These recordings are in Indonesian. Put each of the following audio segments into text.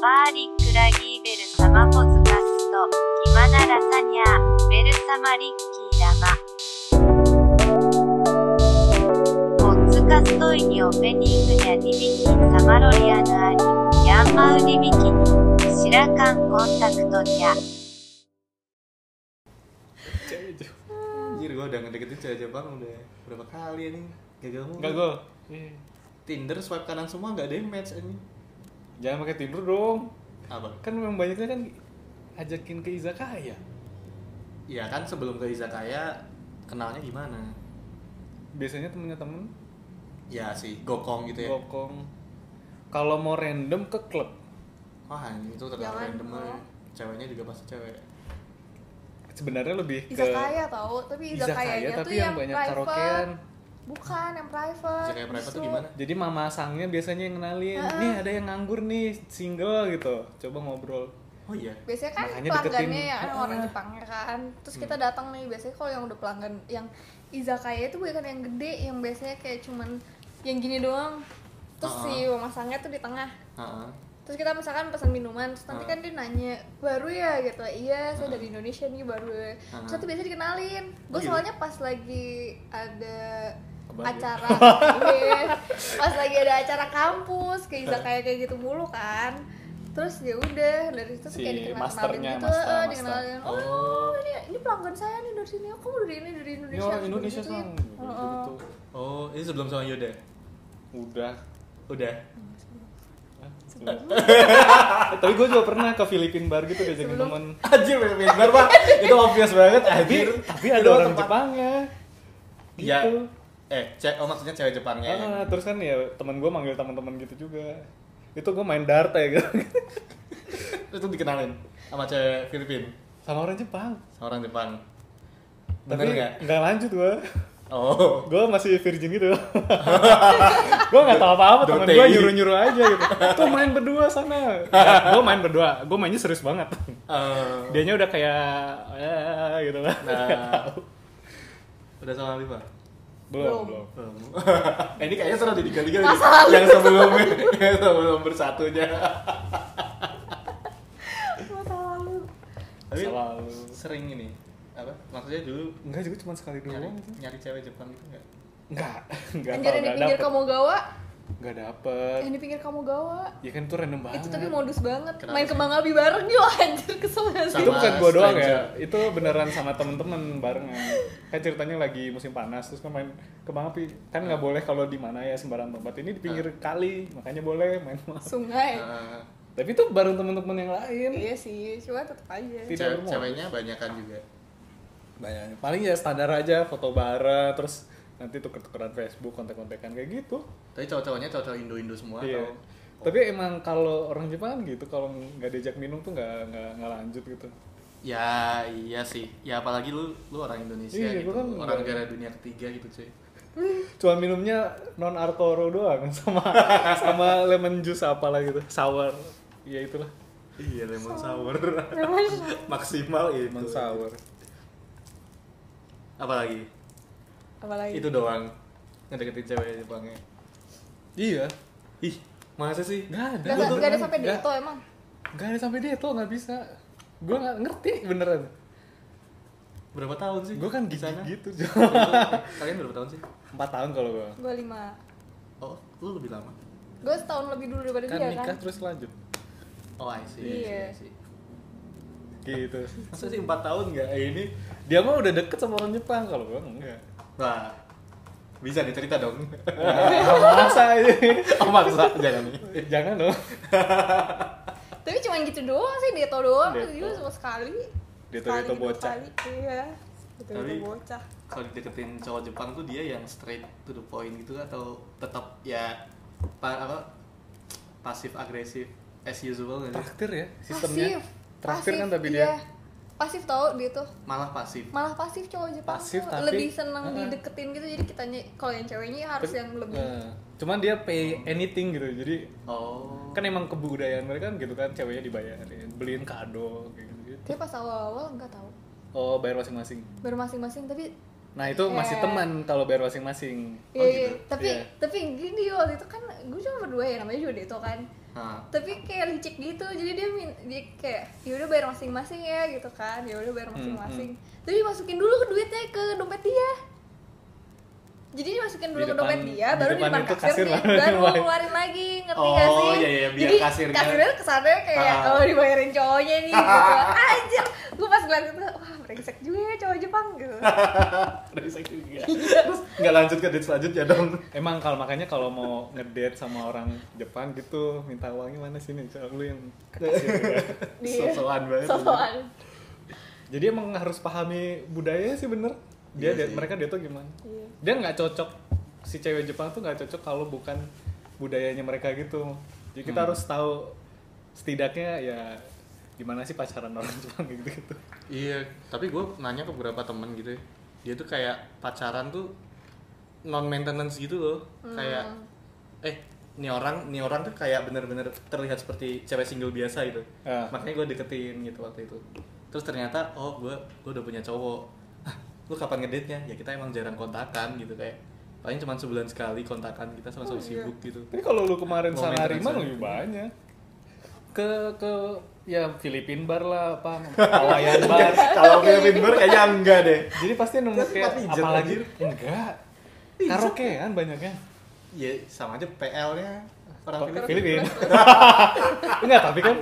マリックラギーベル様ポズカスト、キマナラサニャ、ベル様リッキー玉。ポッツカストイニオペニングニャニビキンサマロリアヌアリ、ヤンマウニビキニ、シラカンコンタクトニャ。 cewek itu anjir gue udah ngedeketin cewek Jepang udah berapa kali ini gagal mulu Enggak gue. Tinder swipe kanan semua gak ada yang match ini Jangan pakai Tinder dong. apa Kan memang banyaknya kan ajakin ke izakaya. ya kan sebelum ke izakaya kenalnya gimana Biasanya temennya temen ya si gokong gitu ya gokong. Kalau mau random ke klub. wah anjing itu terlalu Jangan, random oh. ya. ceweknya juga pasti cewek Sebenarnya lebih ke izakaya tahu tapi izakaya, izakayanya tapi tuh yang banyak private karaokean. bukan yang private izakaya private tuh justru. gimana Jadi mama sangnya biasanya yang kenalin, nih ada yang nganggur nih, single gitu. Coba ngobrol. oh iya biasanya kan Makanya pelanggannya deketin. ya Ah. Hmm. orang Jepangnya kan terus kita datang nih biasanya kalau yang udah pelanggan yang izakaya itu bukan yang gede yang biasanya kayak cuman yang gini doang terus Ah. si masangnya tuh di tengah Heeh. terus kita misalkan pesan minuman terus nanti Ah. kan dia nanya baru ya gitu Ah. iya saya dari Indonesia nih baru ya Ah. terus nanti biasanya dikenalin Oh, gue gitu? soalnya pas lagi ada Kebaya. acara iya. pas lagi ada acara kampus ke Ah. izakaya kayak gitu mulu kan terus ya udah dari situ tuh Si kayak dikenalin masternya, gitu master, eh, master. dikenalin oh, Oh. ini ini pelanggan saya nih dari sini oh kamu dari ini dari Ini Indonesia kan orang Terus Indonesia gitu-gituin. sang. Oh, oh. Gitu. oh ini sebelum sama Yoda Udah. udah Eh, tapi gue juga pernah ke Filipin bar gitu diajakin Sebelum- temen. anjir bener pak itu obvious banget Tapi, anjir tapi ada Itu orang tempat- Jepangnya. ya Gitu. eh cewek oh maksudnya cewek Jepangnya ya? Ah, terus kan ya teman gue manggil teman-teman gitu juga. Itu gue main dart ya gitu. itu dikenalin sama cewek Filipin Sama orang Jepang. sama orang Jepang bener Tapi nggak nggak lanjut gue. oh Gue masih virgin gitu. gue nggak tahu apa-apa teman Dotei. gue nyuruh-nyuruh aja gitu. Tuh main berdua sana. gue main berdua. Gue mainnya serius banget. Eh, Dianya udah kayak eh, gitu kan. nah udah sama Viva Belum, Belum. belum. belum Eh, ini kayaknya seru di tiga tiga yang sebelumnya yang sebelum bersatunya masa lalu tapi Selalu. sering ini apa maksudnya dulu Enggak juga cuma sekali nyari, doang. gitu. nyari cewek Jepang gitu nggak Enggak, enggak tahu anjir yang Kan di enggak pinggir dapet. Kamogawa Enggak dapet. yang di pinggir Kamogawa Ya kan itu random banget. itu tapi modus banget Kenapa main sih? kembang api bareng yuk anjir kesel gak sih itu Sama bukan gua doang stranger. ya itu beneran sama temen-temen barengan kan ceritanya lagi musim panas terus kan main kembang api kan nggak boleh kalau di mana ya sembarang tempat ini di Ah. pinggir kali makanya boleh main kembang api. sungai Eh, tapi itu bareng temen-temen yang lain iya sih cuma tetep aja Tidak cewek bermoral. ceweknya banyakan juga banyak paling ya standar aja foto bareng terus nanti tuker-tukeran Facebook kontak-kontakan kayak gitu tapi cowok-cowoknya cowok-cowok Indo-Indo semua Iya. atau tapi emang kalau orang Jepang kan gitu kalau nggak diajak minum tuh nggak nggak nggak lanjut gitu ya iya sih ya apalagi lu lu orang Indonesia Iya, gitu gua kan orang enggak- negara dunia ketiga gitu cuy cuma minumnya non alkoro doang sama sama lemon juice apalah gitu sour ya itulah iya lemon sour Memang- maksimal itu lemon sour apalagi apalagi itu doang ngedeketin cewek Jepangnya iya ih masa sih nggak ada Gak, gak, Gua- ada sampai nggak- deto emang nggak ada sampai dia tuh nggak bisa gue nggak ngerti beneran berapa tahun sih gue kan di gigi sana gitu kalian berapa tahun sih empat tahun kalau gue Gue lima oh lu lebih lama Gue setahun lebih dulu daripada kan dia nikah kan terus lanjut oh I see, I see, Iya. I see. gitu masa sih empat tahun nggak eh, ini dia mah udah deket sama orang Jepang kalau gue enggak nah bisa dicerita dong Iya. masa ini oh maksa jangan nih jangan dong Tapi cuma gitu doang sih deto doang Deto. Juga sama sekali Deto-deto Sekali, dua bocah. kali. Iya Deto-deto Tapi- bocah kalau dideketin cowok Jepang tuh dia yang straight to the point gitu atau tetap ya pa- apa pasif agresif as usual gitu. nggak sih? traktir ya sistemnya Pasif traktir kan Pasif, tapi dia iya. Pasif tau dia tuh malah pasif malah pasif cowok Jepang Pasif, tuh tapi- lebih seneng Heeh. dideketin gitu jadi kitanya kalau yang ceweknya harus yang lebih Eh, cuman dia pay anything gitu jadi oh kan emang kebudayaan mereka kan gitu kan ceweknya dibayarin beliin kado kayak gitu, dia pas awal-awal nggak tahu oh bayar masing-masing baru masing-masing tapi nah itu masih Iya. Eh. teman kalau bayar masing-masing Iya, Oh, iya. gitu? tapi Iya. tapi gini waktu itu kan gue cuma berdua ya namanya juga Deto kan Nah, tapi kayak licik gitu jadi dia min dia kayak ya udah bayar masing-masing ya gitu kan ya udah Hmm, bayar masing-masing tapi dimasukin dulu ke duitnya ke dompet dia jadi dimasukin dulu Di ke dompet depan- dia di baru di depan depan itu kasir kasir, nih baru baru ngeluarin. ngeluarin lagi ngerti Oh, gak sih iya, iya, biar jadi kasirnya- kasirnya kesannya kayak Ah. kalau dibayarin cowoknya nih gitu aja gue pas ngeliat itu wah brengsek juga ya cowok Jepang gitu Brengsek juga. Iya. Nggak lanjut ya, ke date selanjutnya dong. Emang kalau makanya kalau mau ngedate sama orang Jepang gitu minta uangnya mana sini? Soal lu yang ke kasir ya. Di- Sosokan banget. sosokan Jadi emang harus pahami budaya sih bener. Dia Iya sih. mereka dia tuh gimana? Iya. Dia nggak cocok si cewek Jepang tuh nggak cocok kalau bukan budayanya mereka gitu. Jadi kita Hmm. harus tahu setidaknya ya gimana sih pacaran orang Jepang gitu gitu. Iya, tapi gue nanya ke beberapa temen gitu ya. Dia tuh kayak pacaran tuh non maintenance gitu loh. Hmm. Kayak eh ini orang, ini orang tuh kayak bener-bener terlihat seperti cewek single biasa gitu. Ah. Makanya gue deketin gitu waktu itu. Terus ternyata oh gue gue udah punya cowok. Ah, lu kapan ngedate-nya? Ya kita emang jarang kontakan gitu kayak paling cuma sebulan sekali kontakan kita sama-sama Oh, iya. sibuk gitu. Tapi kalau lu kemarin Mau sana maintenance Rima aja. lu banyak ke ke ya Filipin bar lah apa Hawaiian bar Kalau Kevin Burr kayaknya enggak deh. jadi pasti nemu Dia suka kayak pijat, apalagi anjir. enggak Pijat. karaokean banyaknya Ya sama aja PL-nya orang Filipin. Filipina. enggak tapi kan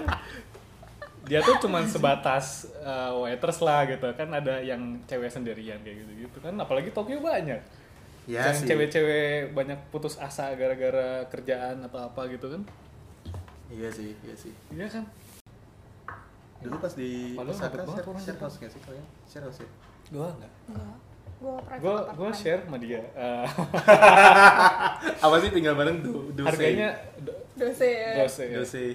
dia tuh cuman sebatas eh, waiters lah gitu kan ada yang cewek sendirian kayak gitu gitu kan apalagi Tokyo banyak Ya yang sih. cewek-cewek banyak putus asa gara-gara kerjaan atau apa gitu kan Iya sih, iya sih. iya kan Iya. Dulu pas di Padahal Osaka ribet banget share, orang share Jepang. house nggak sih kalian? Share house ya? gua enggak gue gua pernah ke gua apartemen. share sama dia Eh, Apa sih tinggal bareng du Duse? harganya do- dosa ya dose ya. Duse.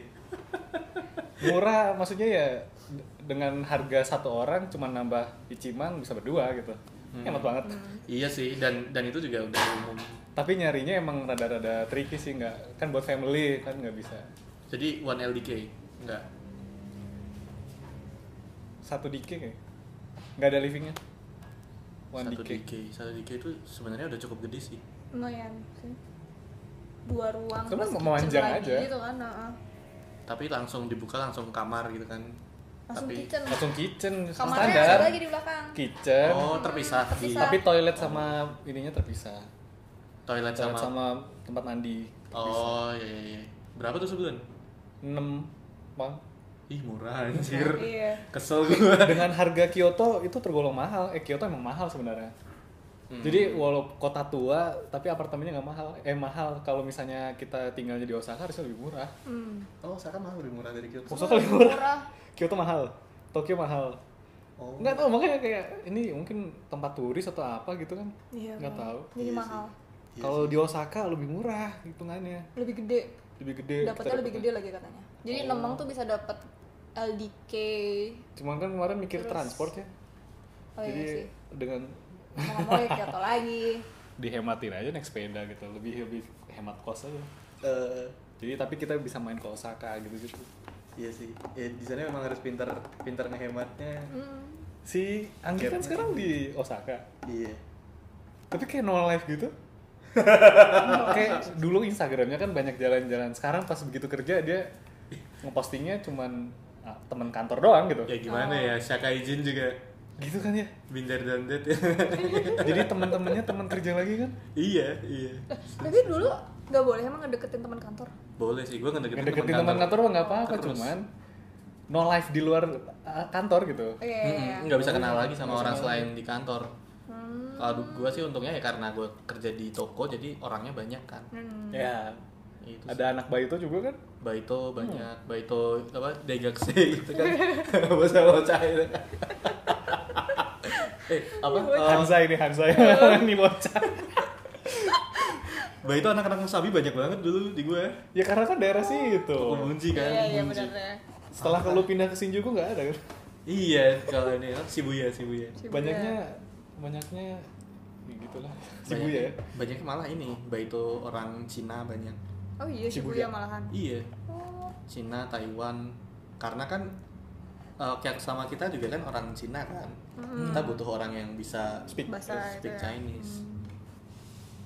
murah maksudnya ya d- dengan harga satu orang cuma nambah iciman bisa berdua gitu Hmm. hemat banget Hmm. Iya sih, dan dan itu juga udah umum. tapi nyarinya emang rada-rada tricky sih nggak kan buat family kan nggak bisa Jadi one LDK, enggak. satu DK kayak nggak ada livingnya one Satu DK. DK. Satu DK itu sebenarnya udah cukup gede sih. lumayan sih dua ruang Cuma terus kitchen memanjang lagi aja. gitu kan heeh. Tapi langsung dibuka langsung kamar gitu kan. langsung Tapi kitchen langsung kitchen kamarnya standar ada lagi di belakang kitchen oh terpisah. Terpisah. Tapi tapi toilet sama ininya terpisah toilet toilet sama. sama tempat mandi Oh iya iya. iya. Berapa tuh sebulan? 6 bang Ih murah anjir. iya Kesel gua. dengan harga Kyoto itu tergolong mahal eh Kyoto emang mahal sebenarnya jadi walau kota tua tapi apartemennya nggak mahal eh mahal kalau misalnya kita tinggalnya di Osaka harusnya lebih murah hmm. Oh, Osaka mah lebih murah dari Kyoto. Osaka lebih murah Kyoto mahal Tokyo mahal Oh. nggak tahu makanya kayak ini mungkin tempat turis atau apa gitu kan Iya, nggak bener. tahu jadi Iya mahal Iya kalau di Osaka lebih murah hitungannya lebih gede lebih gede Iya, kita dapatnya lebih gede dapatnya. lagi katanya jadi nemang tuh bisa dapat LDK cuman kan kemarin mikir Terus- transport ya oh jadi iya sih dengan mau nggak mau ya Kyoto lagi dihematin aja naik sepeda gitu lebih lebih hemat kos aja Eh, jadi tapi kita bisa main ke Osaka gitu gitu Iya sih. Ya di sana memang harus pintar pintar ngehematnya. hmm. si Anggi kan Gapnya. sekarang di Osaka Iya. tapi kayak no life gitu kayak dulu Instagramnya kan banyak jalan-jalan sekarang pas begitu kerja dia ngepostingnya cuman ah, teman kantor doang gitu Ya gimana Oh. ya, Shaka izin juga gitu kan ya binder dan dead ya. jadi teman-temannya teman kerja lagi kan iya, iya. tapi dulu nggak boleh emang ngedeketin teman kantor Boleh sih, gue ngedeketin, ngedeketin teman Iya, kantor mah nggak apa-apa Terus. cuman no life di luar ah, kantor gitu Oh, iya iya, iya Mm-mm, nggak bisa kenal lagi sama Nggak bisa orang kenal selain di kantor. Hmm. Kalau gue sih untungnya ya karena gue kerja di toko jadi orangnya banyak kan. Hmm. ya Itu ada anak bayi itu juga kan Baito Hmm. banyak, Baito apa Degakse gitu kan. Bahasa bocah itu. kan. eh, apa? Iya, Eh, Hansa ini Hansa ini bocah Baito anak-anak Musabi banyak banget dulu di gue. ya karena kan daerah Toko situ Bunji kan. iya iya Bunji. benar ya setelah lu pindah ke Shinjuku nggak ada kan Iya, kalau ini kan Shibuya, Shibuya. Shibuya. banyaknya banyaknya ya gitulah Shibuya ya Banyak- Banyaknya malah ini, Baito orang Cina banyak. oh iya Shibuya. Shibuya malahan Iya, oh Cina, Taiwan. Karena kan eh, kayak sama kita juga kan orang Cina kan. Hmm. Kita butuh orang yang bisa Speak. bahasa itu speak ya. Hmm. Chinese.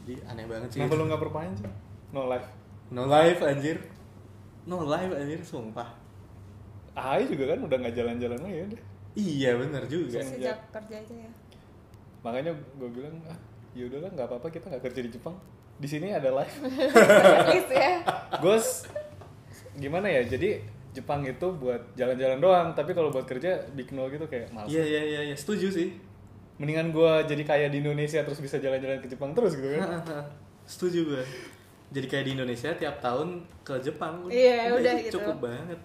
Jadi aneh banget sih. Kenapa lu nggak perpanjang? No life. No life anjir. no life anjir sumpah Ahy juga kan udah nggak jalan-jalan lagi ya udah. iya bener juga Sen- sejak kerja aja ya Makanya gue bilang ah ya udahlah nggak apa-apa kita nggak kerja di Jepang. Di sini ada live. at least ya gue s- gimana ya? Jadi Jepang itu buat jalan-jalan doang, tapi kalau buat kerja big no gitu kayak malas. iya iya iya iya setuju sih Mendingan gua jadi kaya di Indonesia terus bisa jalan-jalan ke Jepang terus Iya. gitu kan. setuju gue jadi kayak di Indonesia tiap tahun ke Jepang Iya, udah itu gitu. cukup banget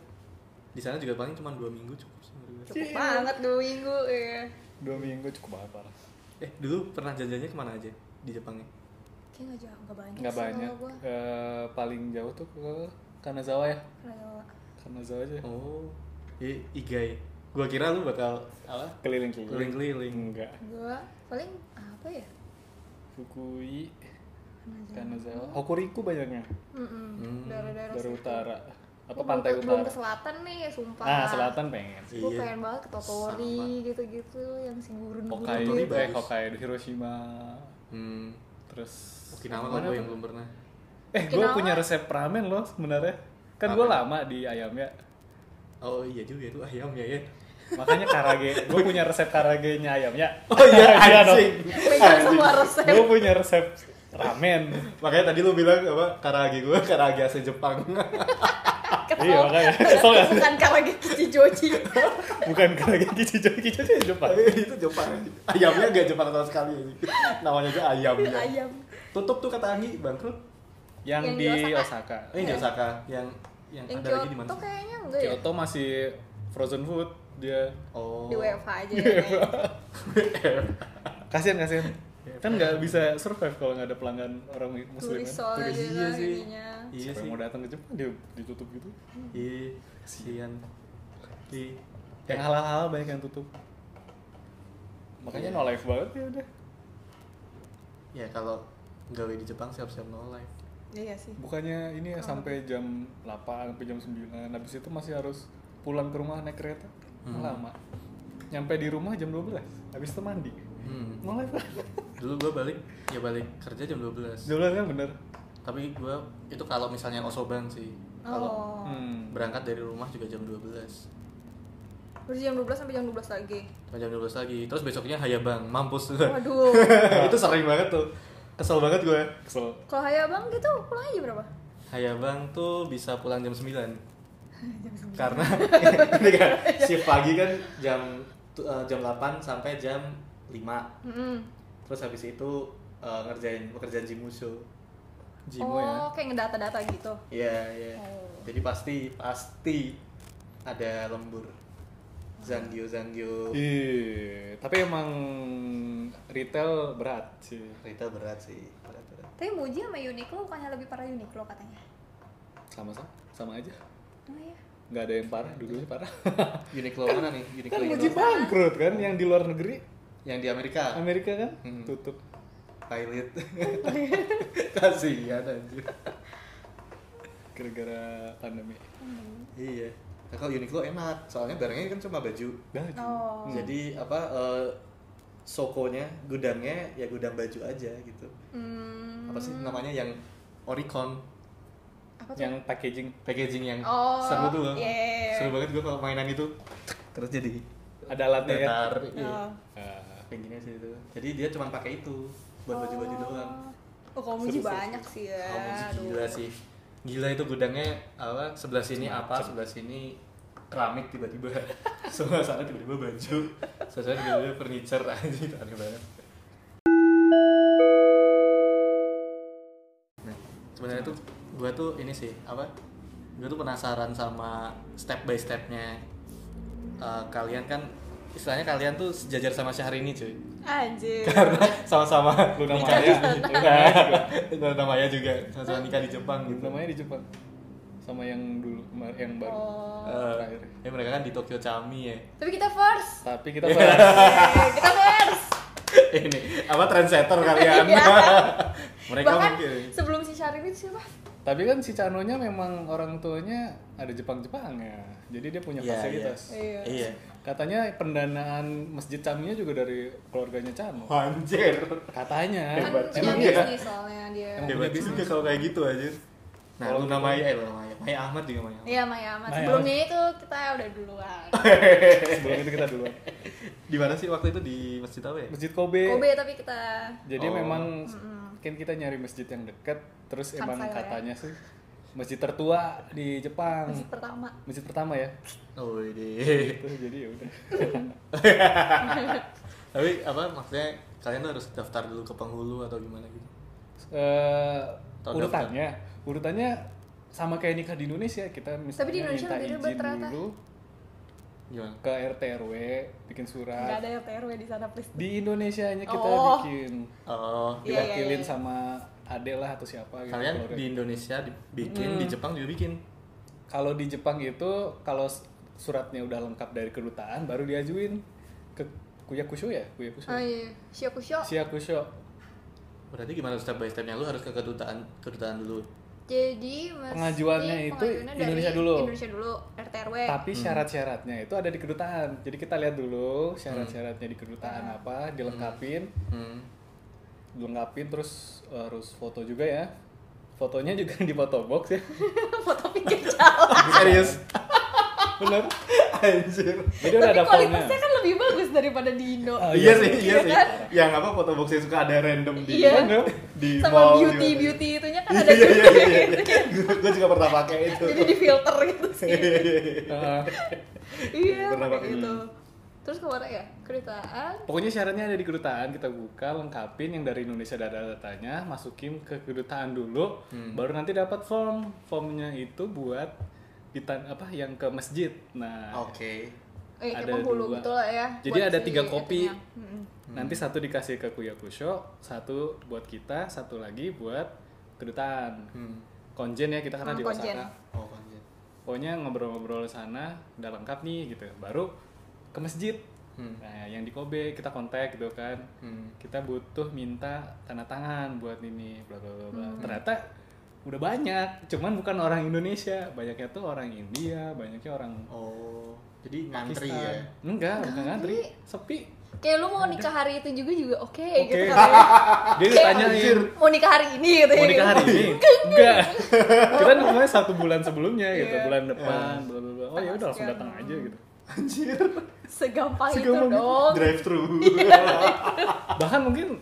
di sana juga paling cuma dua minggu cukup sih menurut gue. cukup banget dua minggu ya Dua minggu cukup banget parah. eh dulu pernah jajannya kemana aja di ya? Jepangnya kayak nggak jauh nggak banyak Nggak sih banyak. kalau gua. Ke, paling jauh tuh ke Kanazawa ya. Nggak jauh. Kanazawa aja. oh i igai gue kira lu bakal apa Keliling-keliling. Keliling-keliling. Enggak. gua paling apa ya Fukui, Kanazawa. Kanazawa, Hokuriku banyaknya. Mm-mm. Hmm, daerah-daerah Dari situ. utara. Apa Gua pantai belum- utara? belum ke selatan nih ya, sumpah Ah, selatan pengen. gue Iya. pengen banget ke Totori Sama. gitu-gitu yang si gurun gitu. Hokkaido, Totori eh bagus. Hokkaido, Hiroshima, hmm terus Okinawa Mana gue yang tuh? belum pernah Eh, gue Okinawa. punya resep ramen loh sebenarnya. Kan gue Ramen. lama di ayam ya. oh iya juga itu ayam ya ya Makanya karage, gue punya resep karagenya ayam ya. oh iya anjing pegang semua resep Gue punya resep ramen. makanya tadi lu bilang apa karagi gue karagi asli Jepang Kesel. Iya, makanya. Kesel kan? bukan karena kici joji Bukan karage kichijo, kichijo itu Jepang. itu Jepang ayamnya gak Jepang sama sekali namanya aja ayam ya. ayam tutup tuh kata Anggi bangkrut Yang, Yang di di Osaka. eh Iya. ini di Osaka yang yang Iya. yang ada lagi di mana Kyoto sih? kayaknya enggak ya Kyoto masih frozen food dia. oh di WFH aja ya kayaknya. Kasian kasian. Kan nggak bisa survive kalau nggak ada pelanggan orang muslim. tulis kan? soal Turis, aja iya lah sih. gitu, ininya iya Siapa sih yang mau datang ke Jepang dia ditutup gitu. iya kasihan ya, di Yang halal-halal banyak yang tutup. Makanya Iya. no life banget ya udah. ya kalau gawe di Jepang siap-siap no life iya sih Bukannya ini ya sampai jam 8 sampai jam 9 habis itu masih harus pulang ke rumah naik kereta. Hmm. Lama. Nyampe di rumah jam 12. Habis itu mandi. hmm. No life banget. dulu gue balik ya balik kerja jam 12 Jam 12 kan bener. tapi gue itu kalau misalnya osoban sih kalau oh Hmm. berangkat dari rumah juga jam 12 terus jam 12 sampai jam 12 lagi Sampai jam 12 lagi terus besoknya hayabang mampus tuh waduh itu sering banget tuh kesel banget gue Kesel. kalau Haya Bang gitu pulang aja berapa Hayabang tuh bisa pulang jam 9 karena ini kan, shift pagi kan jam tu- eh, jam 8 sampai jam 5 Mm-mm. terus habis itu eh, ngerjain pekerjaan jimuso Jimo ya. oh kayak ngedata-data gitu Iya, iya. Oh. Jadi pasti pasti ada lembur. Zangyo Zangyo Iya, tapi emang retail berat sih. Rita berat sih, berat berat. tapi Muji sama Uniqlo bukannya lebih parah Uniqlo katanya Sama sama, sama aja. oh iya Nggak ada yang parah, dulunya parah. Uniqlo mana nih? Uniqlo kan yang Muji bangkrut kan, yang di luar negeri, yang di Amerika. Amerika kan Hmm. tutup. Pilot. Kasihan anjir. gara-gara pandemi. Iya. Nah, kalau Uniqlo enak, soalnya barangnya kan cuma baju. Dah, oh Jadi apa eh, sokonya, gudangnya ya gudang baju aja gitu. Hmm. Apa sih namanya yang Oricon? apa tuh yang packaging packaging yang Oh, seru tuh loh. iya, iya, iya. seru banget gue kalau mainan itu terus jadi ada alatnya kan. datar iya. Oh. Ah, pengennya sih itu jadi dia cuma pakai itu buat baju-baju doang Oh, kalau Muji Seru, seru, banyak seru. sih ya. Kalau Muji Aduh. gila sih gila itu gudangnya apa sebelah sini apa sebelah sini keramik tiba-tiba sebelah sana tiba-tiba baju sebelah sana tiba-tiba furniture anjir aneh banget Nah, sebenarnya tuh gue tuh ini sih apa gue tuh penasaran sama step by stepnya Eh, kalian kan istilahnya kalian tuh sejajar sama Syahrini cuy Anjir. sama-sama Luna nikah Maya. di- Luna Maya juga. Luna Maya juga sama-sama nikah di Jepang gitu namanya di Jepang. Sama yang dulu kemar- yang baru. Oh. Eh, ya mereka kan di Tokyo Chami ya Tapi kita first. Tapi kita bahas Eh, kita first. ini apa trendsetter kalian Iya. mereka Bahkan mungkin sebelum si Syarif itu siapa? Tapi kan si Canonya memang orang tuanya ada Jepang-Jepang ya. Jadi dia punya Iya, fasilitas. Iya. iya Katanya pendanaan masjid Caminya juga dari keluarganya Cano. anjir Katanya. Kan Oh. Hebat. punya Emang Emang iya? bisnis soalnya dia. Emang hebat punya juga kalau kayak gitu anjir nah Kalau Luna gitu- Maya eh Luna Maya Maya Ahmad juga Maya. Ahmad. Iya Maya Ahmad. Maya Sebelumnya itu kita udah duluan. Oh, sebelum itu kita duluan Di mana sih waktu itu di masjid apa ya? masjid Kobe, Kobe tapi kita jadi Oh. memang kan kita nyari masjid yang dekat terus Kan emang saya. katanya sih masjid tertua di Hmm. Jepang masih pertama. masjid pertama ya Oh ini. itu jadi ya udah Tapi apa maksudnya kalian tuh harus daftar dulu ke penghulu atau gimana gitu? Eh, Tahun urutannya urutannya sama kayak nikah di Indonesia kita misalnya Tapi di Indonesia minta lebih ribet izin ternyata. dulu Gimana? ke RT RW bikin Iya. Enggak surat ada yang TRW di sana please. di Indonesia nya kita Oh. bikin Oh, Iya, iya, iya. diwakilin sama Ade lah atau siapa gitu kalian keluarga. di Indonesia dibikin, di Jepang juga bikin. kalau di Jepang itu kalau s- suratnya udah lengkap dari kedutaan baru diajuin ke Kuyakusho ya Kuyakusho Oh iya, Shiokusho. Siakusho Berarti gimana step by stepnya? Lu harus ke kedutaan kedutaan dulu. Jadi mesti Pengajuannya itu pengajuannya dari Indonesia dulu. Indonesia dulu, RTRW. Hmm. tapi syarat-syaratnya itu ada di kedutaan jadi kita lihat dulu syarat-syaratnya di kedutaan Hmm. apa dilengkapin Hmm. dilengkapin terus eh, harus foto juga ya fotonya juga di foto box ya foto pinggir jalan. Serius? bener Anjir. jadi udah tapi ada formnya kualitasnya kan lebih bagus daripada di Indo. Ah, iya sih, iya Iya sih. kan? Yang apa foto boxnya suka ada random di Iya. mana? di Sama mall, beauty di mana. beauty itunya kan Iya ada iya juga iya. gitu. Gue juga pernah pakai itu. Iya, Jadi di filter gitu sih. Heeh. iya. Pernah kayak pakai. gitu. Terus kemana ya? Kedutaan. pokoknya syaratnya ada di kedutaan kita buka lengkapin yang dari Indonesia ada datanya masukin ke kedutaan dulu baru nanti dapat form formnya itu buat ditan apa yang ke masjid nah Oke. Eh, kayak Ada penghulu dua. gitu lah ya. Jadi buat ada si Hmm. tiga kopi. itunya. Mm-mm. nanti satu dikasih ke Kuyakusho satu buat kita satu lagi buat kedutaan Hmm. konjen ya kita karena Hmm, di konjen. Osaka Oh, konjen. pokoknya ngobrol-ngobrol sana udah lengkap nih gitu baru ke masjid Hmm. nah yang di Kobe kita kontak gitu kan Hmm. kita butuh minta tanda tangan buat ini bla bla bla bla. ternyata udah banyak cuman bukan orang Indonesia banyaknya tuh orang India banyaknya orang Oh, jadi Pakistan ngantri ya. enggak bukan ngantri Ngantri. sepi Kayak lu mau nikah hari itu juga juga oke oke gitu kan ya. dia ditanyain Anjir. Mau nikah hari ini gitu mau ya. nikah hari ini enggak kita namanya satu bulan sebelumnya gitu Iya. bulan depan bla bla bla oh ya udah langsung Sekian. datang aja gitu Anjir. Segampang, Segampang itu dong. Drive thru. Iya. bahkan mungkin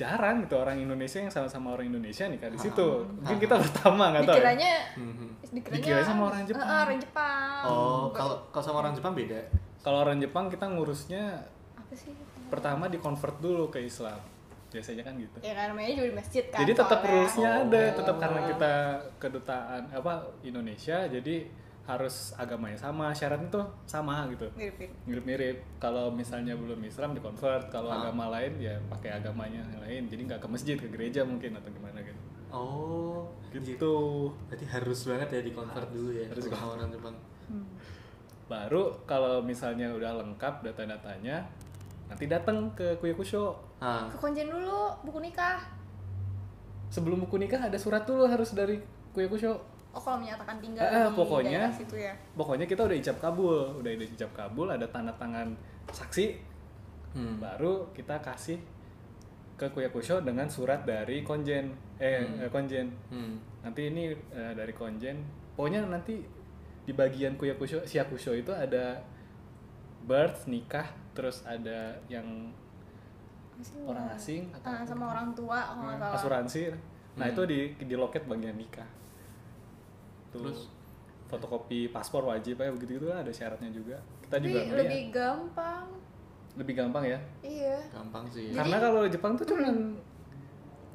jarang gitu orang Indonesia yang sama-sama orang Indonesia nikah di situ Ah. mungkin kita pertama nggak tahu ya. Dikiranya dikiranya, Dikiranya sama orang Jepang. Eh, orang Jepang. Oh, kalau kalau sama orang Jepang beda. kalau orang Jepang kita ngurusnya apa sih? pertama di convert dulu ke Islam biasanya kan gitu Ya kan namanya juga di masjid kan. jadi tetap soalnya. rulesnya Oh. ada tetap karena kita kedutaan apa Indonesia jadi harus agamanya sama syaratnya tuh sama gitu Mirip-mirip. mirip-mirip kalau misalnya belum Islam di convert kalau Ah. agama lain ya pakai agamanya yang lain jadi nggak ke masjid ke gereja mungkin atau gimana gitu Oh, gitu. gitu Berarti harus banget ya di convert dulu ya Harus sama orang Jepang. baru kalau misalnya udah lengkap data-datanya nanti datang ke Kuyakusho Ah, Ke konjen dulu buku nikah. sebelum buku nikah ada surat dulu harus dari Kuyakusho Oh kalau menyatakan tinggal Eh, eh, di pokoknya. daerah situ ya. pokoknya kita udah ijab kabul udah ada ijab kabul ada tanda tangan saksi Hmm. baru kita kasih ke Kuyakusho dengan surat dari konjen eh eh, konjen hmm. nanti ini eh, dari konjen pokoknya nanti di bagian Kuyakusho Siakusho itu ada birth nikah terus ada yang Apa sih? orang Hmm. Hmm, asing atau Eh, sama orang tua kalau nggak salah. asuransi nah Hmm. itu di di loket bagian nikah Tuh, Terus? fotokopi paspor wajib ya begitu gitu ada syaratnya juga kita Tapi juga ngeliat. lebih gampang. lebih gampang ya Iya. Gampang sih. karena kalau Jepang tuh cuman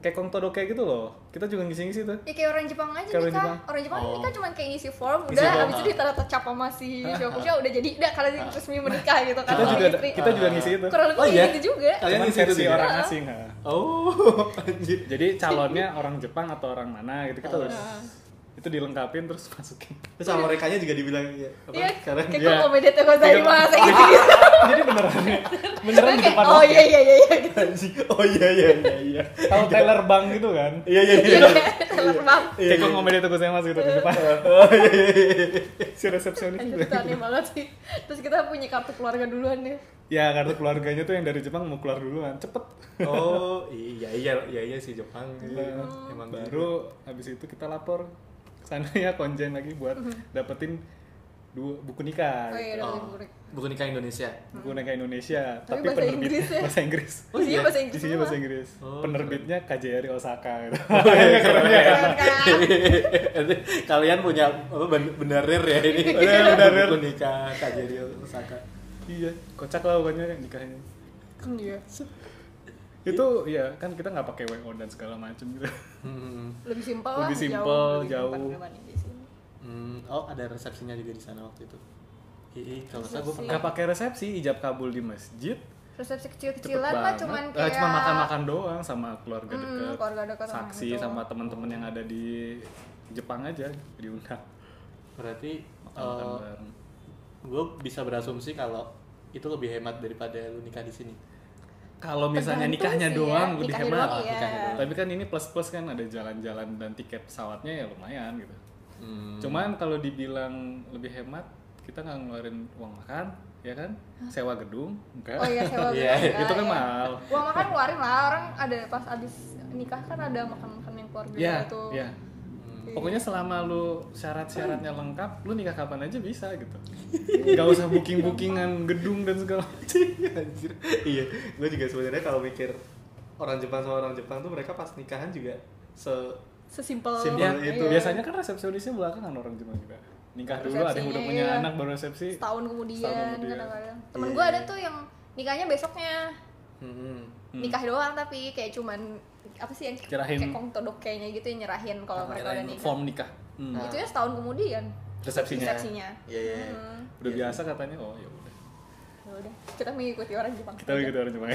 kayak kong todoke gitu loh kita juga ngisi-ngisi tuh Ya kayak orang Jepang aja Kayak orang nikah. Jepang. Orang Jepang Oh. nikah cuma kayak ngisi form, Ngisi udah form, habis itu ah. ditanda cap sama si Shiokusho udah jadi udah kalian resmi menikah gitu kan. Ah. kita sama juga ada- istri. kita juga ngisi itu Kurang lebih Oh, kayak iya? gitu juga. Kalian cuman ngisi itu versi juga? orang asing ha. Oh, anjir. jadi calonnya orang Jepang atau orang mana gitu kita harus itu dilengkapin terus masukin Terus sama mereka juga dibilang ya, apa? Iya, Karena kayak dia- kok komedi tuh Iya, gak tadi mas gitu. jadi beneran beneran di Kayak, depan Oh iya iya iya iya. anjir. Oh iya iya iya iya. kalau Taylor Bang gitu kan Iya iya iya. Iya, Teler bang. kayak kok ngomel itu saya mas gitu di depan si resepsionis Anjir, bilang, itu aneh banget sih. Terus kita punya kartu keluarga duluan ya. ya kartu keluarganya tuh yang dari Jepang mau keluar duluan cepet Oh, iya iya iya iya sih Jepang. Iya, Emang baru baru habis itu kita lapor ke sana ya konjen lagi buat dapetin dua buku nikah Mm-hmm. Oh, iya, gitu. dapat Oh, buku nikah. buku nikah Indonesia. buku nikah Indonesia Tapi tapi, bahasa penerbit Inggris ya? bahasa Inggris Oh, Isinya iya. bahasa Inggris isinya bahasa semua. Inggris Oh, penerbitnya KJRI Osaka gitu. Keren ya. Keren kan? Iya. Kalian punya apa ben- benerir ya ini? Iya. Benerir, benerir. Buku nikah KJRI Osaka. iya kocak lah pokoknya nikahnya Hmm, Iya. itu ya kan kita nggak pakai WO dan segala macem gitu Iya. Hmm. Lebih simpel lah. Lebih simpel, jauh. daripada di sini. Hmm, oh ada resepsinya juga di sana waktu itu. Ii, kalau nggak salah gue Resepsi. pernah. nggak pakai resepsi ijab kabul di masjid Resepsi cepet kecil-kecilan mah banget cuman Eh, kayak cuma makan-makan doang sama keluarga Hmm, dekat keluarga dekat sama saksi gitu. sama teman-teman yang ada di Jepang aja diundang Berarti makan-makan bareng gue bisa berasumsi kalau itu lebih hemat daripada lu nikah di sini. kalau misalnya Tergantung Nah, nikahnya sih ya, doang lebih nikahnya hemat doang, iya. nikahnya doang. tapi kan ini plus plus kan ada jalan-jalan dan tiket pesawatnya ya lumayan gitu Hmm. cuman kalau dibilang lebih hemat kita nggak ngeluarin uang makan ya kan sewa gedung enggak Oh iya, sewa Iya, gedung, itu kan iya. mahal Uang makan keluarin lah, orang ada pas abis nikah kan ada makan-makan yang keluarga ya gitu Iya. ya pokoknya selama lu syarat-syaratnya lengkap lu nikah kapan aja bisa gitu nggak usah booking bookingan gedung dan segala macam Anjir. Iya, gue juga sebenarnya kalau mikir orang Jepang sama orang Jepang tuh mereka pas nikahan juga se Sesimpel Simpel ya Iya. itu biasanya kan resepsionisnya belakangan orang Jepang juga nikah dulu ada yang udah Resepsinya, punya iya. anak baru resepsi setahun kemudian Setahun kemudian. kadang-kadang temen Iya, gue iya. ada tuh yang nikahnya besoknya Hmm. Hmm. nikah doang tapi kayak cuman apa sih yang Nyerahin. kayak kong todok kayaknya gitu yang nyerahin kalau mereka udah Nyerahin nikah form nikah Hmm. Nah. itu ya setahun kemudian resepsinya resepsinya Iya, iya. Hmm. udah biasa katanya oh ya udah Ya udah kita mengikuti orang Jepang kita begitu orang ya. Jepang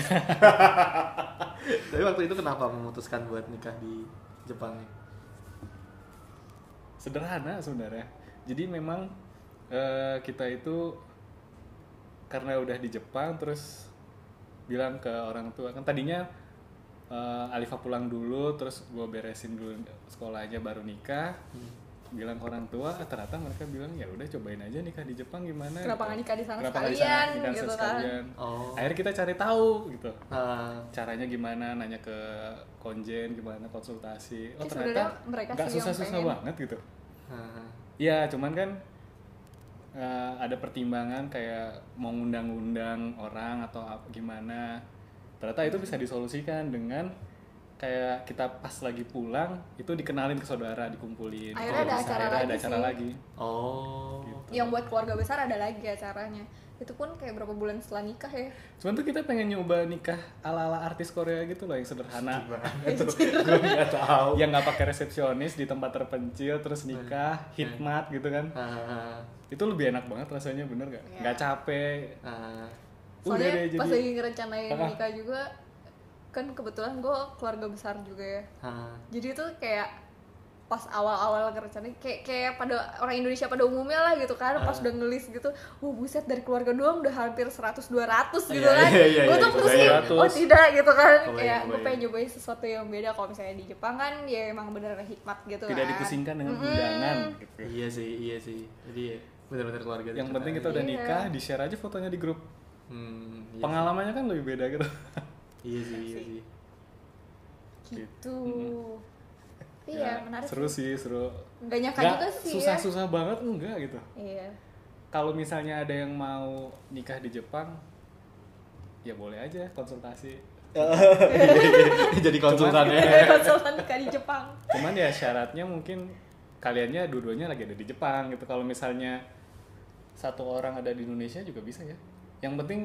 Tapi waktu itu kenapa memutuskan buat nikah di Jepang ya? nih? sederhana sebenarnya jadi memang eh, kita itu karena udah di Jepang terus bilang ke orang tua kan tadinya eh, Alifa pulang dulu terus gue beresin dulu sekolahnya baru nikah bilang ke orang tua ah, ternyata mereka bilang ya udah cobain aja nikah di Jepang gimana Kenapa nggak nikah di sana sekalian, gitu kan. sekalian Oh. akhirnya kita cari tahu gitu Nah, caranya gimana nanya ke konjen gimana konsultasi oh Jadi sebenarnya ternyata mereka nggak sih yang susah-susah pengen. banget gitu nah. ya cuman kan eh, ada pertimbangan kayak mau ngundang-ngundang orang atau ap- gimana ternyata itu bisa disolusikan dengan kayak kita pas lagi pulang itu dikenalin ke saudara dikumpulin Kalau Akhirnya ada bisa, acara akhirnya lagi ada acara sih. lagi Oh. yang buat keluarga besar ada lagi acaranya itu pun kayak berapa bulan setelah nikah ya cuman tuh kita pengen nyoba nikah ala-ala artis Korea gitu loh yang sederhana Gitu. Gue nggak tahu. yang nggak pakai resepsionis di tempat terpencil terus nikah hikmat gitu kan Ah, itu lebih enak banget rasanya bener nggak Iya. nggak capek ah. soalnya deh, pas jadi- lagi ngerencanain Ah. nikah juga kan kebetulan gue keluarga besar juga ya Ah. jadi itu kayak pas awal-awal ngerencanain kayak kayak pada orang Indonesia pada umumnya lah gitu kan Ah. pas udah ngelis gitu wah buset dari keluarga doang udah hampir 100 200 gitu Iya, kan iya, iya, gue iya, tuh iya, pusing kebayang. oh tidak gitu kan Kebayang, kayak gue kebayang. pengen nyobain sesuatu yang beda kalau misalnya di Jepang kan ya emang bener hikmat gitu tidak kan. dipusingkan dengan Mm-mm. undangan gitu. Iya sih, iya sih. Jadi benar-benar keluarga. Yang dicerna- penting kita udah Iya. nikah, di share aja fotonya di grup. Hmm, iya, Pengalamannya kan lebih beda gitu. iya sih, iya sih. gitu iya Ya, menarik Ya, Seru sih, seru. gak nyangka Nggak juga sih ya susah-susah banget enggak gitu. iya Kalau misalnya ada yang mau nikah di Jepang, ya boleh aja konsultasi. Iya, Jadi konsultan ya. Kayak konsultan nikah di Jepang Cuman ya syaratnya mungkin kaliannya dua-duanya lagi ada di Jepang gitu. Kalau misalnya satu orang ada di Indonesia juga bisa ya. Yang penting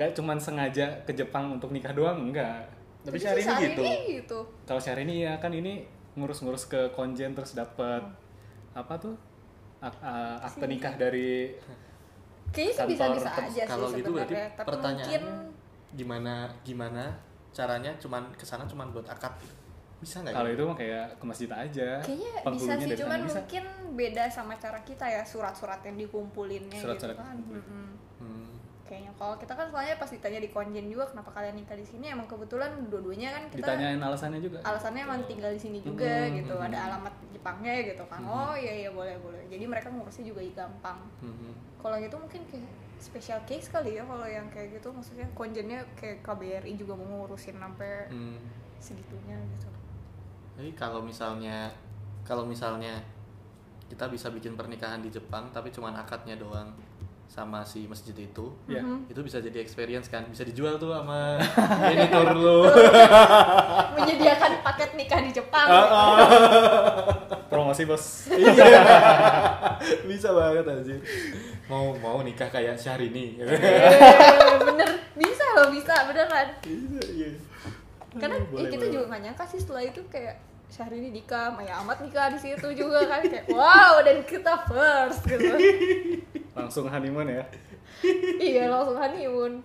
nggak cuman sengaja ke Jepang untuk nikah doang, enggak. Tapi Jadi sehari ini sehari gitu. ini gitu Kalau sehari ini ya kan ini ngurus-ngurus ke konjen terus dapat Hmm. apa tuh ak- a- akte nikah dari kayaknya sih Kantor bisa-bisa ter- aja Kalau sih gitu berarti sebenarnya tapi pertanyaannya mungkin gimana gimana caranya cuman kesana cuman buat akad gitu. Bisa nggak? kalau ya? itu mah kayak ke masjid aja. kayaknya bisa Penghulunya sih dari cuman sana bisa. mungkin beda sama cara kita ya surat-surat yang dikumpulinnya Surat-surat gitu kan dikumpulin. Mm-mm. Hmm. kayaknya kalau kita kan soalnya pas ditanya di konjen juga kenapa kalian nikah di sini emang kebetulan dua-duanya kan kita Ditanyain alasannya juga. alasannya emang tinggal di sini juga Hmm, Mm-mm, gitu mm-mm. ada alamat Jepangnya gitu kan oh iya iya boleh boleh jadi mereka ngurusnya juga gampang Hmm. kalau gitu mungkin kayak special case kali ya kalau yang kayak gitu maksudnya konjennya kayak KBRI juga mau ngurusin sampai Hmm. segitunya gitu Jadi kalau misalnya kalau misalnya kita bisa bikin pernikahan di Jepang tapi cuman akadnya doang sama si masjid itu Ya. Hmm. itu bisa jadi experience kan bisa dijual tuh sama editor lu menyediakan paket nikah di Jepang Ah, Promosi bos. Iya. bisa banget anjir mau mau nikah kayak Syahrini Eh, bener bisa loh bisa beneran Iya. karena eh, Hmm, Boleh, kita boleh. juga gak nyangka sih setelah itu kayak Syahrini nikah, Maya Ahmad nikah di situ juga kan kayak wow dan kita first gitu. Langsung honeymoon ya. iya langsung honeymoon.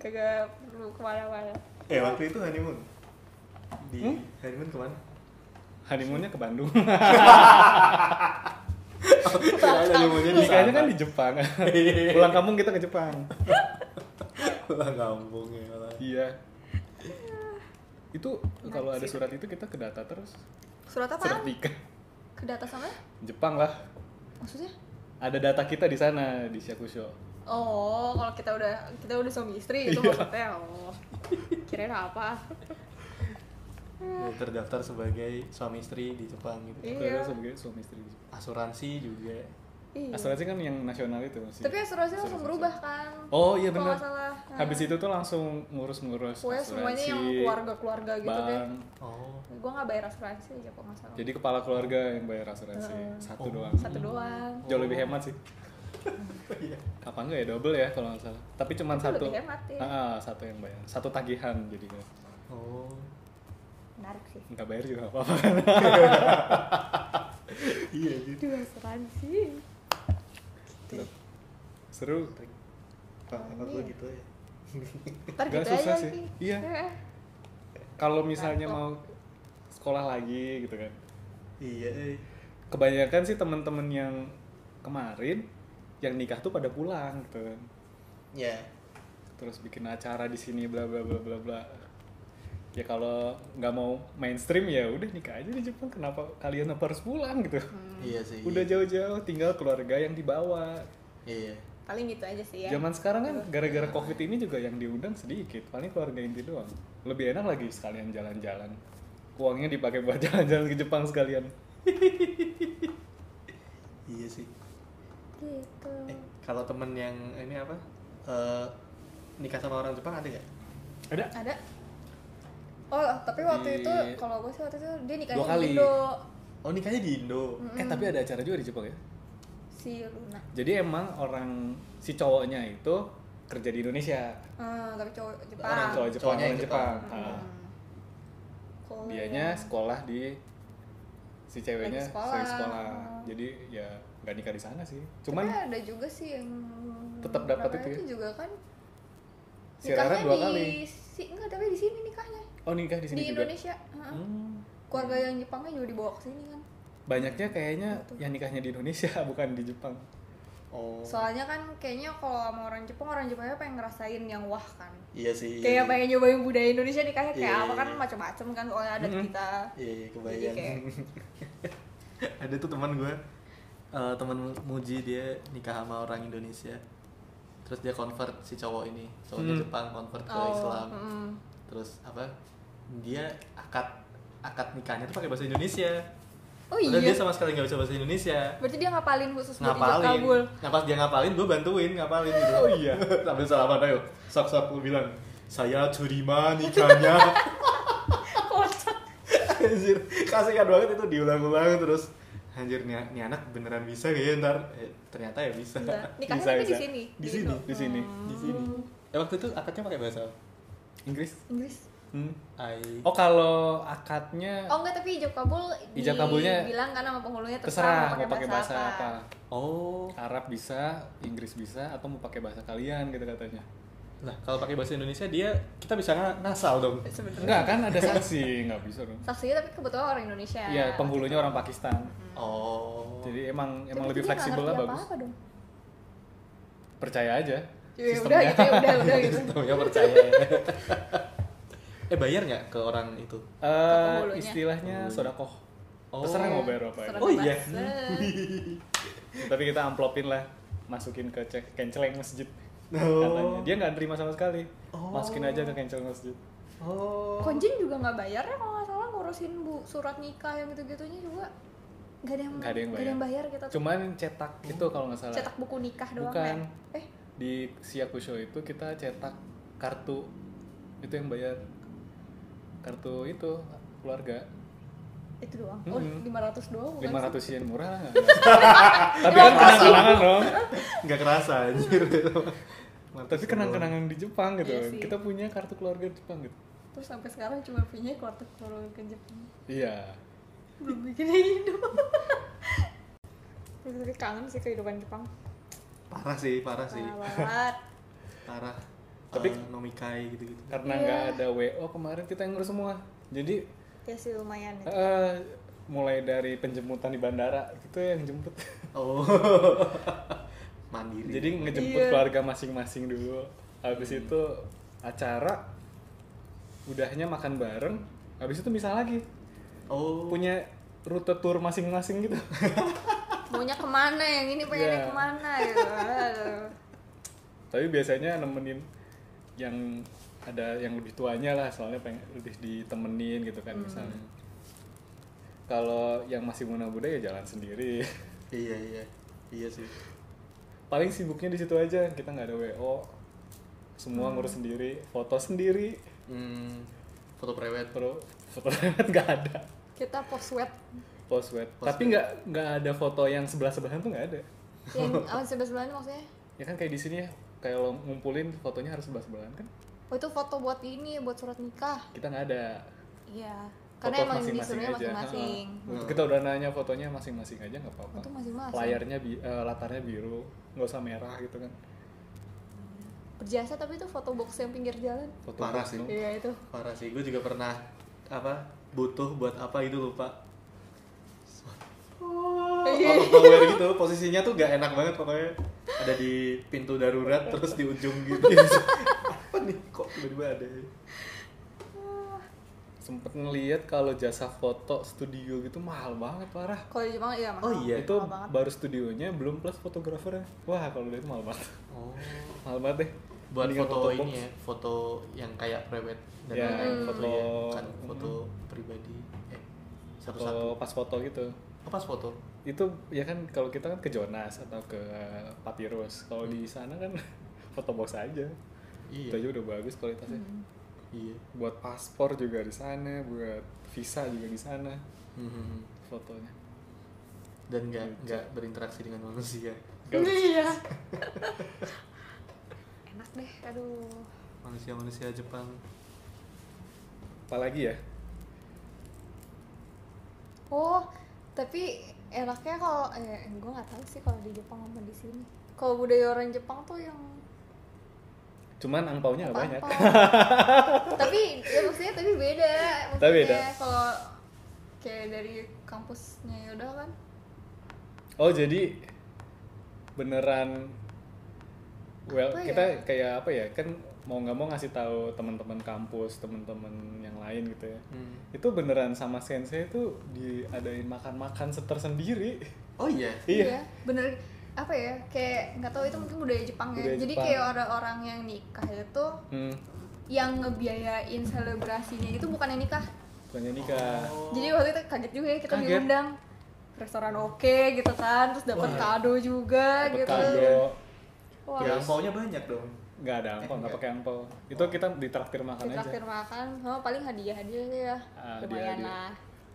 Kagak perlu kemana-mana. eh waktu itu honeymoon di Hmm? honeymoon kemana Honeymoonnya ke Bandung. Kirain Iya, honeymoonnya di Nikahnya sana. kan di Jepang. Pulang kampung kita ke Jepang. Lah kampung ya lah. Iya. Itu kalau ada surat itu kita ke data terus. Surat Surat apaan? nikah. Ke data sama? Jepang lah. Maksudnya? Ada data kita di sana di Syakusho. Oh, kalau kita udah kita udah suami istri Iya. gitu maksudnya. Oh. Kirain apa? Ya, terdaftar sebagai suami istri di Jepang gitu Iya. Terus sebagai suami istri di Jepang. asuransi juga Iya. Asuransi kan yang nasional itu masih. Tapi asuransi langsung berubah kan? Oh iya Kalau benar. nggak salah. Nah, Habis itu tuh langsung ngurus-ngurus Pokoknya semuanya yang keluarga-keluarga gitu deh. bank. oh Gue nggak bayar asuransi aja kok masalah. Jadi kepala keluarga yang bayar asuransi Oh. satu doang. Satu doang. Jauh lebih hemat sih. Apa enggak ya double ya kalau nggak salah. Tapi cuma Itu satu. lebih hemat ya. Ah, ah, satu yang bayar. Satu tagihan jadinya. oh Menarik sih. Nggak bayar juga nggak apa-apa. iya gitu Dua asuransi. Seru. apa gua gitu ya Ntar Nggak gitu aja susah sih. sih. Iya. Eh, Kalau misalnya mau sekolah lagi gitu kan. iya eh. Kebanyakan sih teman-teman yang kemarin yang nikah tuh pada pulang gitu kan. ya terus bikin acara di sini bla bla bla bla bla ya kalau nggak mau mainstream ya udah nikah aja di Jepang kenapa kalian apa harus pulang gitu iya sih udah jauh-jauh tinggal keluarga yang dibawa iya Paling gitu aja sih ya. zaman sekarang kan gara-gara covid ini juga yang diundang sedikit paling keluarga inti doang lebih enak lagi sekalian jalan-jalan uangnya dipakai buat jalan-jalan ke Jepang sekalian iya sih Gitu. eh kalau temen yang ini apa Eh nikah sama orang Jepang ada nggak ada Ada. Oh, tapi waktu Di- itu kalau gue sih waktu itu dia nikahnya Dua di kali. Indo oh nikahnya di Indo eh tapi ada acara juga di Jepang ya si Luna. jadi emang orang si cowoknya itu kerja di Indonesia Eh, tapi cowok Jepang. Hmm. Orang cowok Jepang Cowoknya yang Oh, orang Jepang. Oh, iya. Jepang, Ah. Kalau- dianya sekolah di si ceweknya Lagi sekolah. sering sekolah Hmm. jadi ya nggak nikah di sana sih Cuman cuman ada juga sih yang Tetap dapat berapa itu ya? juga kan. Si Rara nikahnya dua di, kali. Si, enggak, tapi di sini nikahnya. oh nikah di di sini juga Indonesia. Heeh. Hmm. Oh. Keluarga yang Jepangnya juga dibawa ke sini kan. banyaknya kayaknya Betul. yang nikahnya di Indonesia bukan di Jepang oh Soalnya kan kayaknya kalau sama orang Jepang, orang Jepangnya pengen ngerasain yang wah kan. iya sih kayak iya, pengen nyobain budaya Indonesia nikahnya kayak Iya, apa kan iya. macam-macam kan soalnya adat Mm-mm. kita. Iya, iya, Jadi kebayang. kayak- ada tuh teman gue, eh teman Muji dia nikah sama orang Indonesia. Terus dia convert si cowok ini, cowoknya Hmm. Jepang convert ke Oh, Islam. mm. Terus apa? Dia akad akad nikahnya tuh pakai bahasa Indonesia. Oh Padahal iya. dia sama sekali nggak bisa bahasa Indonesia. Berarti dia ngapalin khusus buat ijab Ngapalin. kabul. Nah pas dia ngapalin, gue bantuin ngapalin gitu. oh iya Sambil salaman ayo. Sok-sok gue bilang, saya curima nikahnya. Kocak. anjir kasihkan banget itu diulang-ulang terus anjir nih, nih anak beneran bisa kayaknya ntar eh, ternyata ya bisa Enggak. Nikahnya Bisa, tapi di bisa. sini. Di sini, Indo. di sini Hmm. di sini eh waktu itu akadnya pakai bahasa apa? Inggris Inggris. Hmm. I oh kalau akadnya Oh enggak tapi ijab kabul Ijab kabulnya bilang kan sama penghulunya terserah mau pakai bahasa apa oh Arab bisa Inggris bisa atau mau pakai bahasa kalian gitu katanya nah kalau pakai bahasa Indonesia dia kita bisa nga- ngasal dong Sebenarnya. enggak kan ada saksi nggak bisa dong Saksinya tapi kebetulan orang Indonesia. Iya, penghulunya orang Pakistan. oh Jadi emang Tapi emang lebih dia nggak fleksibel lah ngerti bagus. apa-apa dong. Percaya aja. Ya, udah sistemnya. Eh, gitu ya, Sistemnya udah udah gitu. percaya eh bayar nggak ke orang itu Eh, penghulunya. istilahnya sodakoh. Oh. Terserah mau bayar apa aja. Serem Oh, iya. banget. Tapi kita amplopin lah, masukin ke cek kenceleng masjid. Oh. Katanya dia nggak terima sama sekali. Oh. Masukin aja ke kenceleng masjid. oh Konjin juga nggak bayar ya kalau nggak salah ngurusin bu surat nikah yang gitu-gitunya juga. nggak ada yang Nggak ada yang nggak bayar gitu Cuman cetak itu kalau nggak salah. cetak buku nikah doang Bukan. ya eh Di Siakusho itu kita cetak kartu itu yang bayar kartu itu keluarga itu doang oh Mm-mm. lima ratus doang bukan lima sih? ratus yen murah lah nggak? tapi kan kenang-kenangan dong nggak kerasa anjir tapi kenang-kenangan di Jepang gitu Iya sih. kita punya kartu keluarga Jepang gitu terus sampai sekarang cuma punya kuartal keluarga ke Jepang iya belum bikin hidup terus tapi kangen sih kehidupan Jepang parah sih parah sih Parah banget parah Tapi- tapi nomikai gitu gitu karena nggak ada WO kemarin kita yang ngurus semua jadi ya sih lumayan ya. eh, mulai dari penjemputan di bandara itu yang jemput oh mandiri jadi ngejemput Iya. keluarga masing-masing dulu habis itu acara udahnya makan bareng habis itu misal lagi oh punya rute tour masing-masing gitu maunya kemana yang ini pengennya Iya. kemana gitu Aduh. tapi biasanya nemenin yang ada yang lebih tuanya lah soalnya pengen lebih ditemenin gitu Hmm. kan misalnya kalau yang masih muda muda ya jalan sendiri iya iya iya sih paling sibuknya di situ aja kita nggak ada wo semua Hmm. ngurus sendiri foto sendiri hmm, foto prewed pro foto lewat nggak ada kita post web post wed Post tapi wed. nggak nggak ada foto yang sebelah sebelahan tuh nggak ada yang awal sebelah sebelahnya maksudnya ya kan kayak di sini ya kayak lo ngumpulin fotonya harus sebelah sebelahan kan oh itu foto buat ini buat surat nikah kita nggak ada iya foto karena emang masing-masing disuruhnya aja. masing-masing Hmm. Oh, Heeh. Untuk kita udah nanya fotonya masing-masing aja nggak apa-apa. Itu masing-masing. Layarnya bi- eh, latarnya biru, nggak usah merah gitu kan. berjasa tapi itu foto box yang pinggir jalan Foto Parah foto. sih. iya itu parah sih gue juga pernah apa butuh buat apa gitu lupa Iya. Out of nowhere gitu posisinya tuh gak enak banget pokoknya ada di pintu darurat terus di ujung gitu apa nih kok tiba-tiba ada ya? Sempet ngeliat kalau jasa foto studio gitu mahal banget parah. kalau di Jepang iya mahal Oh, iya. itu mahal banget baru studionya belum plus fotografernya. Wah kalau lihat mahal banget, oh mahal banget deh. buat Mendingan foto box. ini ya foto yang kayak private dan Ya, lain-lain gitu ya. Hmm. foto- bukan foto pribadi eh satu-satu Foto pas foto gitu. apa foto Itu ya kan kalau kita kan ke Jonas atau ke Papyrus. Kalau di sana kan foto box aja. Itu Hmm. aja iya udah bagus kualitasnya. Hmm. iya buat paspor juga di sana, buat visa juga di sana Mhm. fotonya. dan nggak Iya. nggak berinteraksi dengan manusia iya enak deh aduh manusia-manusia Jepang Apalagi ya? oh tapi enaknya kalau eh gue nggak tahu sih kalau di Jepang sama di sini kalau budaya orang Jepang tuh yang Cuman angpaunya nggak banyak. Apa-apa. tapi ya maksudnya tapi beda maksudnya Tapi beda. kalau kayak dari kampusnya Yoda kan Oh jadi beneran well Apa ya? kita kayak apa ya kan mau nggak mau ngasih tahu teman-teman kampus, teman-teman yang lain gitu Hmm. ya. Itu beneran sama sensei itu diadain makan-makan set tersendiri. oh iya Iya. bener apa ya kayak nggak tahu itu mungkin budaya Jepang ya Budaya jadi Jepang. kayak orang-orang yang nikah itu Hmm, yang ngebiayain selebrasinya itu bukan yang nikah bukannya nikah. jadi waktu itu kaget juga ya kita Kaget. diundang restoran oke gitu kan terus dapat Wah. kado juga Dapet gitu kado. Wah, ya maunya banyak dong Nggak ada angpau, nggak nggak. pakai angpau. Itu kita ditraktir makan aja. Eh, ditraktir makan sama paling hadiah hadiah ya Ah, hadiah-hadiah. lumayan lah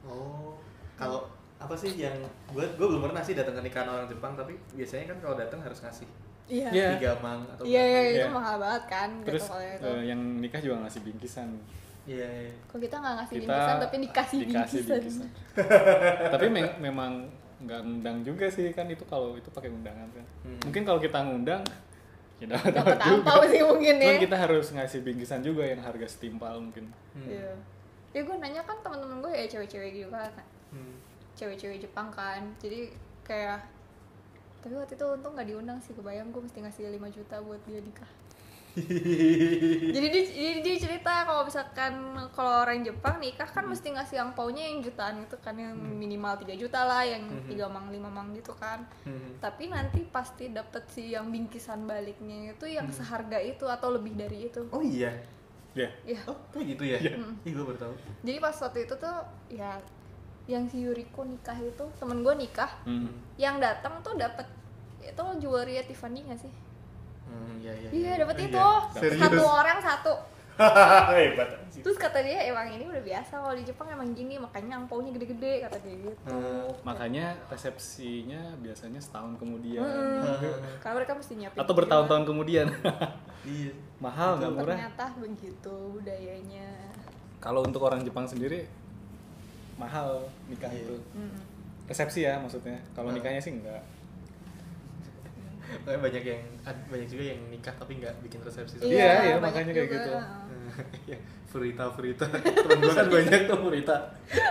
Oh, kalau apa sih yang gue gue belum pernah sih datang ke nikahan orang Jepang tapi biasanya kan kalau datang harus ngasih iya Iya. tiga mang atau Iya, iya, berapa. gitu. itu Iya. mahal banget kan Terus gitu kalau itu. eh, yang nikah juga ngasih bingkisan. Iya, iya. Kalau kita nggak ngasih kita bingkisan tapi dikasih, dikasih bingkisan. bingkisan. tapi me- memang nggak ngundang juga sih kan itu kalau itu pakai undangan kan Hmm. mungkin kalau kita ngundang ya dapat Dapat juga. angpau sih mungkin ya. Cuman kita harus ngasih bingkisan juga yang harga setimpal mungkin Hmm. Iya. Ya gue nanya kan teman-teman gue ya cewek-cewek juga kan. Hmm. Cewek-cewek Jepang kan. Jadi kayak tapi waktu itu untung nggak diundang sih kebayang gue mesti ngasih 5 juta buat dia nikah jadi dia, dia, dia cerita kalau misalkan kalau orang Jepang nikah kan mesti ngasih yang paunya yang jutaan itu kan yang minimal 3 juta lah yang Mhm. tiga mang 5 mang gitu kan Hmm. tapi nanti pasti dapet sih yang bingkisan baliknya itu yang seharga itu atau lebih dari itu Oh iya. ya ya Oh, kayak gitu ya? Iya. Ih, gue baru tahu. jadi pas waktu itu tuh ya yang si Yuriko nikah itu temen gue nikah Hmm. yang datang tuh dapat itu jewelry Tiffany gak sih Hmm, iya iya. iya dapat Iya, itu serius. satu orang satu Hmm. Hebat. anjing. terus kata dia emang ini udah biasa kalau di Jepang emang gini makanya angpaunya gede-gede kata dia gitu Hmm, Makanya resepsinya biasanya setahun kemudian Mm-mm. Hmm. karena mereka mesti nyiapin atau juga. bertahun-tahun kemudian. Iya. Mahal nggak murah. ternyata begitu budayanya Kalau untuk orang Jepang sendiri mahal nikah Iya. itu. Mm-mm. Resepsi ya maksudnya. Kalau Hmm. nikahnya sih enggak. Tapi banyak yang ad- banyak juga yang nikah tapi nggak bikin resepsi. Iya, iya, banyak makanya kayak juga. gitu. Iya, Furita, Furita. Temen gue kan banyak tuh Furita.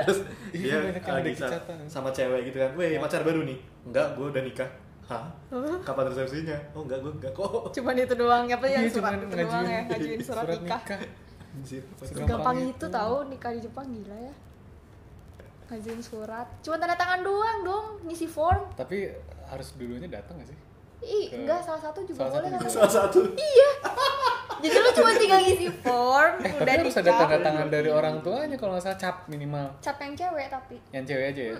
Terus Iya, dia banyak yang lagi ada sa- kecatan. Iya. sama cewek gitu kan. Weh, pacar baru nih. Enggak, gue udah nikah. Hah? Hah? Kapan resepsinya? Oh, enggak, gue enggak kok. cuman itu doang apa yang Iya, surat cuman itu doang ya ngajuin- ngajuin surat, nikah, Anjir, apa tuh? Segampang gampang itu. itu tahu nikah di Jepang gila ya ngajuin surat cuma tanda tangan doang dong ngisi form Tapi harus dulunya datang gak sih? ih Ke- enggak salah satu juga salah boleh satu kan juga. Salah satu. jadi lu cuma tinggal ngisi form Eh, tapi udah harus ada tanda nikah tangan dari orang tuanya kalau nggak salah cap minimal. cap yang cewek tapi Yang cewek aja ya.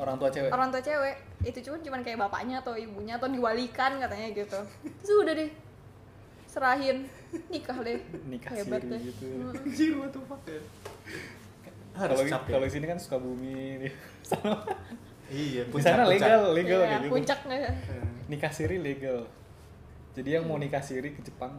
Orang tua cewek. orang tua cewek itu cuma cuman kayak bapaknya atau ibunya atau diwalikan katanya gitu terus udah deh serahin nikah deh Nikah hebat siri deh gitu. Anjir, what the fuck ya? Harus Kalau cap ya? kalau di sini kan suka bumi. Iya, Hmm. Di sana legal, legal Iya, kayak gitu. puncak nggak ya? Nikah siri legal. Jadi yang mau Iya. nikah siri ke Jepang